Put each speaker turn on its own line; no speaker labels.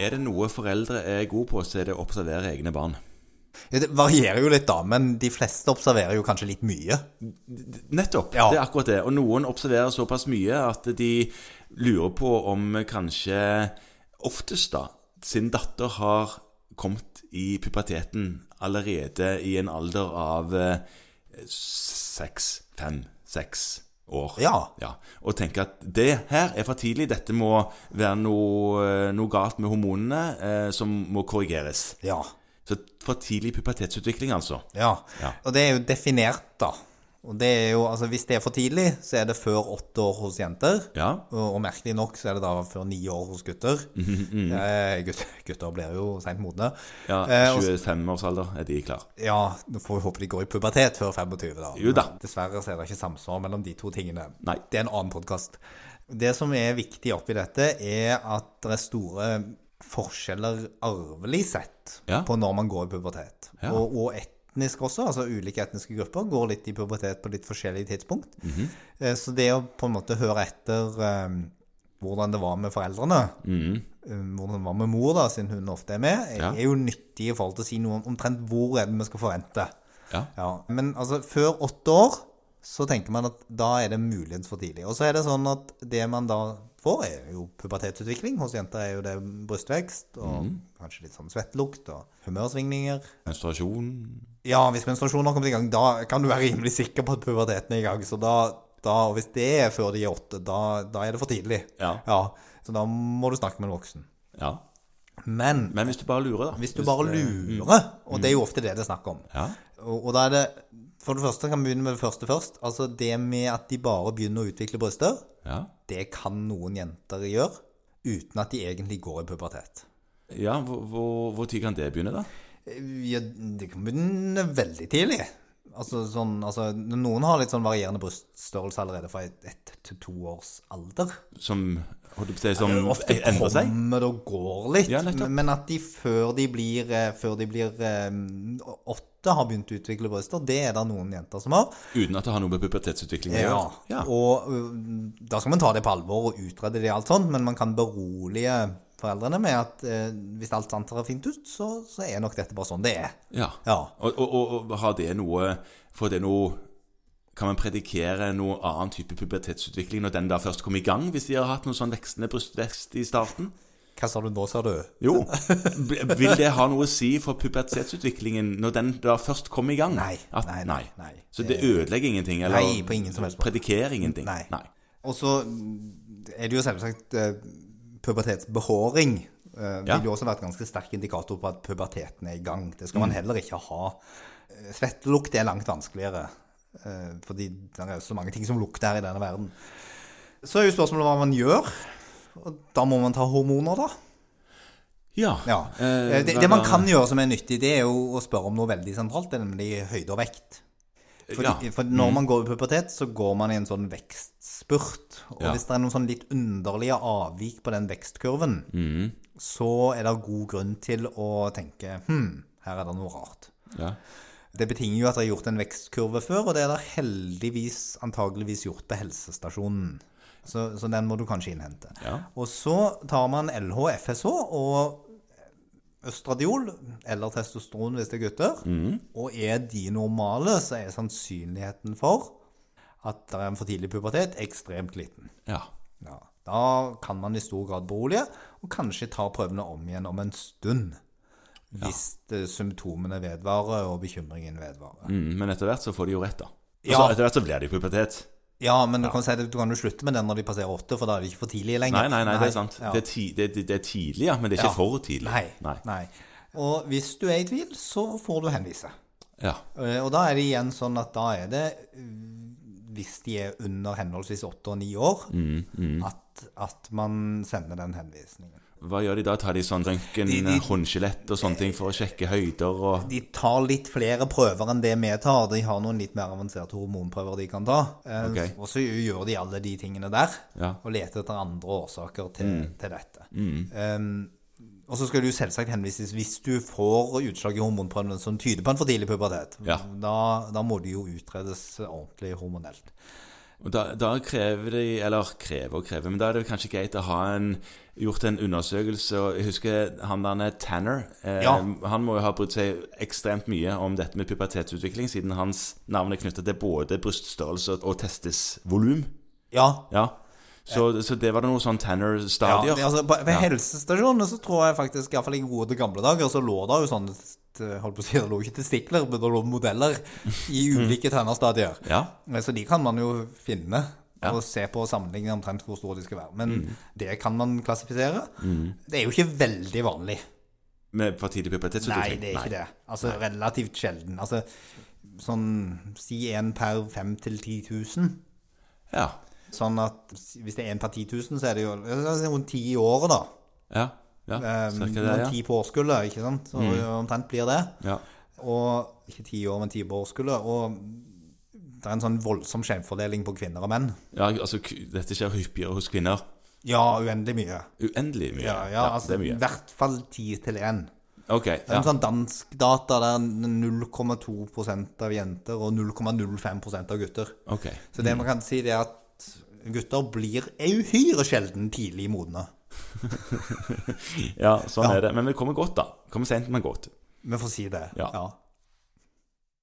Er det noe foreldre er gode på, så er det å observere egne barn.
Det varierer jo litt, da, men de fleste observerer jo kanskje litt mye.
Nettopp.
Ja.
Det er akkurat det. Og noen observerer såpass mye at de lurer på om kanskje oftest da sin datter har kommet i puberteten allerede i en alder av eh, seks, fem, seks år.
Ja.
ja. Og tenker at det her er for tidlig. Dette må være noe, eh, noe galt med hormonene eh, som må korrigeres.
Ja.
Så for tidlig pubertetsutvikling, altså.
ja.
Ja.
Og det er jo definert, da. Og det er jo, altså Hvis det er for tidlig, så er det før åtte år hos jenter.
Ja.
Og, og merkelig nok så er det da før ni år hos gutter.
Mhm,
eh, gutter, gutter blir jo seint modne.
Ja,
Eh, og så-
25-årsalder er de klar.
ja, nå får vi håpe de går i pubertet før 25, da.
Jo da.
Dessverre så er det ikke samsvar mellom de to tingene.
Nei.
Det er en annen podkast. Det som er viktig oppi dette, er at det er store forskjeller arvelig sett
Ja.
på når man går i pubertet.
Ja.
Og, og etnisk også, altså ulike etniske grupper går litt i pubertet på litt forskjellige tidspunkt.
Mhm.
Eh, Så det å på en måte høre etter eh, hvordan det var med foreldrene,
Mhm.
eh, hvordan det var med mor, da, siden hun ofte er med, er,
Ja.
er jo nyttig i forhold til å si noe om omtrent hvor er det vi skal forvente.
Ja.
Ja, men altså, før åtte år så tenker man at da er det muligens for tidlig. Og så er det sånn at det man da får, er jo pubertetsutvikling. Hos jenter er jo det brystvekst og
Mm.
kanskje litt sånn svettlukt og humørsvingninger.
Menstruasjon
Ja, hvis menstruasjonen har kommet i gang, da kan du være rimelig sikker på at puberteten er i gang. Så da, da og hvis det er før de er åtte, da, da er det for tidlig.
Ja.
Så da må du snakke med en voksen.
Ja.
Men
Men hvis du bare lurer, da.
hvis du bare lurer, og det er jo ofte det det er snakk om
Ja.
Og, og da er det For det første kan vi begynne med det første først. Altså det med at de bare begynner å utvikle bryster,
Ja.
det kan noen jenter gjøre uten at de egentlig går i pubertet.
ja hvor, hvor, hvor tid kan det begynne, da?
Eh, Ja, det kan begynne veldig tidlig. Altså, sånn, altså, noen har litt sånn varierende bryststørrelse allerede fra et- ett til to års alder.
Som holdt jeg på å si, som
eh, Ofte
Mm. E- endrer seg?
kommer det og går litt,
Ja, nettopp.
men at de før de blir, eh, før de blir eh, åtte har begynt å utvikle bryster, det er det noen jenter som har.
Uten at det har noe med pubertetsutvikling å
Ja.
gjøre? Ja.
Og ø, da skal man ta det på alvor og utrede det og alt sånt, men man kan berolige foreldrene med at eh, hvis alt annet ser fint ut, så, så er nok dette bare sånn det er.
ja.
Ja.
Og, og, og, og har det noe Får det noe Kan man predikere noe annen type pubertetsutvikling når den da først kom i gang, hvis de har hatt noe sånn veksende brystvekst i starten?
Hva sa du nå, sa du?
Jo. B- Vil det ha noe å si for pubertetsutviklingen når den da først kom i gang?
Nei,
At,
nei,
nei,
nei, nei.
Så det ødelegger ingenting? Eller
Nei, på ingen som helst måte.
predikerer ingenting?
Nei. Og så mm, er det jo selvsagt eh, pubertetsbehåring. eh,
Ja.
Vil jo også være et ganske sterk indikator på at puberteten er i gang. Det skal man heller ikke ha. Eh, Svettelukt er langt vanskeligere, eh, fordi det er så mange ting som lukter her i denne verden. Så er jo spørsmålet hva man gjør. Og da må man ta hormoner, da.
Ja.
Ja.
Eh,
Eh, det,
hva
det man
da?
kan gjøre som er nyttig, det er jo å spørre om noe veldig sentralt, nemlig høyde og vekt. Fordi,
Ja. Mm.
For når man går i pubertet, så går man i en sånn vekstspurt. Og
Ja.
hvis det er noen sånn litt underlige avvik på den vekstkurven,
Mm.
så er det god grunn til å tenke hm, her er det noe rart.
ja.
Det betinger jo at det er gjort en vekstkurve før, og det er det heldigvis antageligvis gjort på helsestasjonen. Så, så den må du kanskje innhente.
Ja.
Og så tar man LH-FSH og østradiol, eller testosteron hvis det er gutter. Og er de normale, så er sannsynligheten for at det er en for tidlig pubertet ekstremt liten.
ja.
Ja. Da kan man i stor grad berolige, og kanskje ta prøvene om igjen om en stund. Hvis eh, symptomene vedvarer og bekymringen vedvarer.
Mm, men etter hvert så får de jo rett, da. Altså,
Ja.
Etter hvert så blir det jo pubertet.
Ja, men du kan si at du kan jo slutte med den når de passerer åtte, for da er det ikke for tidlig lenger.
Nei, nei, nei, det er sant.
Ja.
Det, er ti, det, det, det er tidlig, ja, men det er ikke
Ja.
for tidlig.
Nei, nei. Og hvis du er i tvil, så får du henvise.
Ja.
Eh, Og da er det igjen sånn at da er det, eh, hvis de er under henholdsvis åtte og ni år,
Mm,
At, at man sender den henvisningen.
Hva gjør de da? Tar de sånn røntgen,
De- de-
håndskjelett og sånne ting for å sjekke høyder og
De tar litt flere prøver enn det vi tar. De har noen litt mer avanserte hormonprøver de kan ta. Eh,
Ok.
Og så gjør de alle de tingene der,
Ja. Mm.
og leter etter andre årsaker til, til dette. Eh, og så skal du selvsagt henvises hvis du får utslag i hormonprøvene som tyder på en for tidlig pubertet.
Ja.
Da, da må du jo utredes ordentlig hormonelt.
Og da, da krever de Eller krever og krever, men da er det jo kanskje greit å ha en, gjort en undersøkelse. og Jeg husker han der nede, Tanner. Eh,
Ja.
Han må jo ha brydd seg ekstremt mye om dette med pubertetsutvikling, siden hans navn er knytta til både bryststørrelse og testisvolum.
Ja.
Ja. Så, så det var det noen sånn
Ja,
Tanner-stadier.
det- altså, på på helsestasjonene så tror jeg faktisk, iallfall i gode gamle dager, så lå det jo sånn Holdt på å si, det lå ikke testikler, men det lå modeller i ulike tennerstadier.
Ja.
Men Så de kan man jo finne
Ja.
og se på og sammenligne omtrent hvor store de skal være. Men det kan man klassifisere. Det er jo ikke veldig vanlig.
Med for tidlig
Nei,
pubertetsutvikling.
det er ikke det. Altså relativt sjelden. Altså sånn si én per 5 til 10 000.
Ja.
Sånn at hvis det er én per 10 000, så er det jo altså, rundt ti i året, da.
Ja. ja.
Eh,
Cirka det,
Noen
ja. Mm.
ti på årskullet, ikke sant? Så omtrent blir det.
ja.
Og ikke ti år, men ti på årskullet. Og det er en sånn voldsom skjevfordeling på kvinner og menn.
Ja, altså, k- dette skjer hyppigere hos kvinner.
Ja, uendelig mye.
Uendelig mye.
Ja, ja, altså,
det er
I
mye.
hvert fall 10 til 1.
Ok,
Det er
ja.
En sånn dansk data der 0,2 av jenter og 0,05 av gutter.
ok.
Så det man kan si det er at gutter blir uhyre sjelden tidlig modne.
Ja, sånn
Ja.
er det. Men vi kommer godt, da. Kommer sent, men godt.
Vi får si det.
Ja.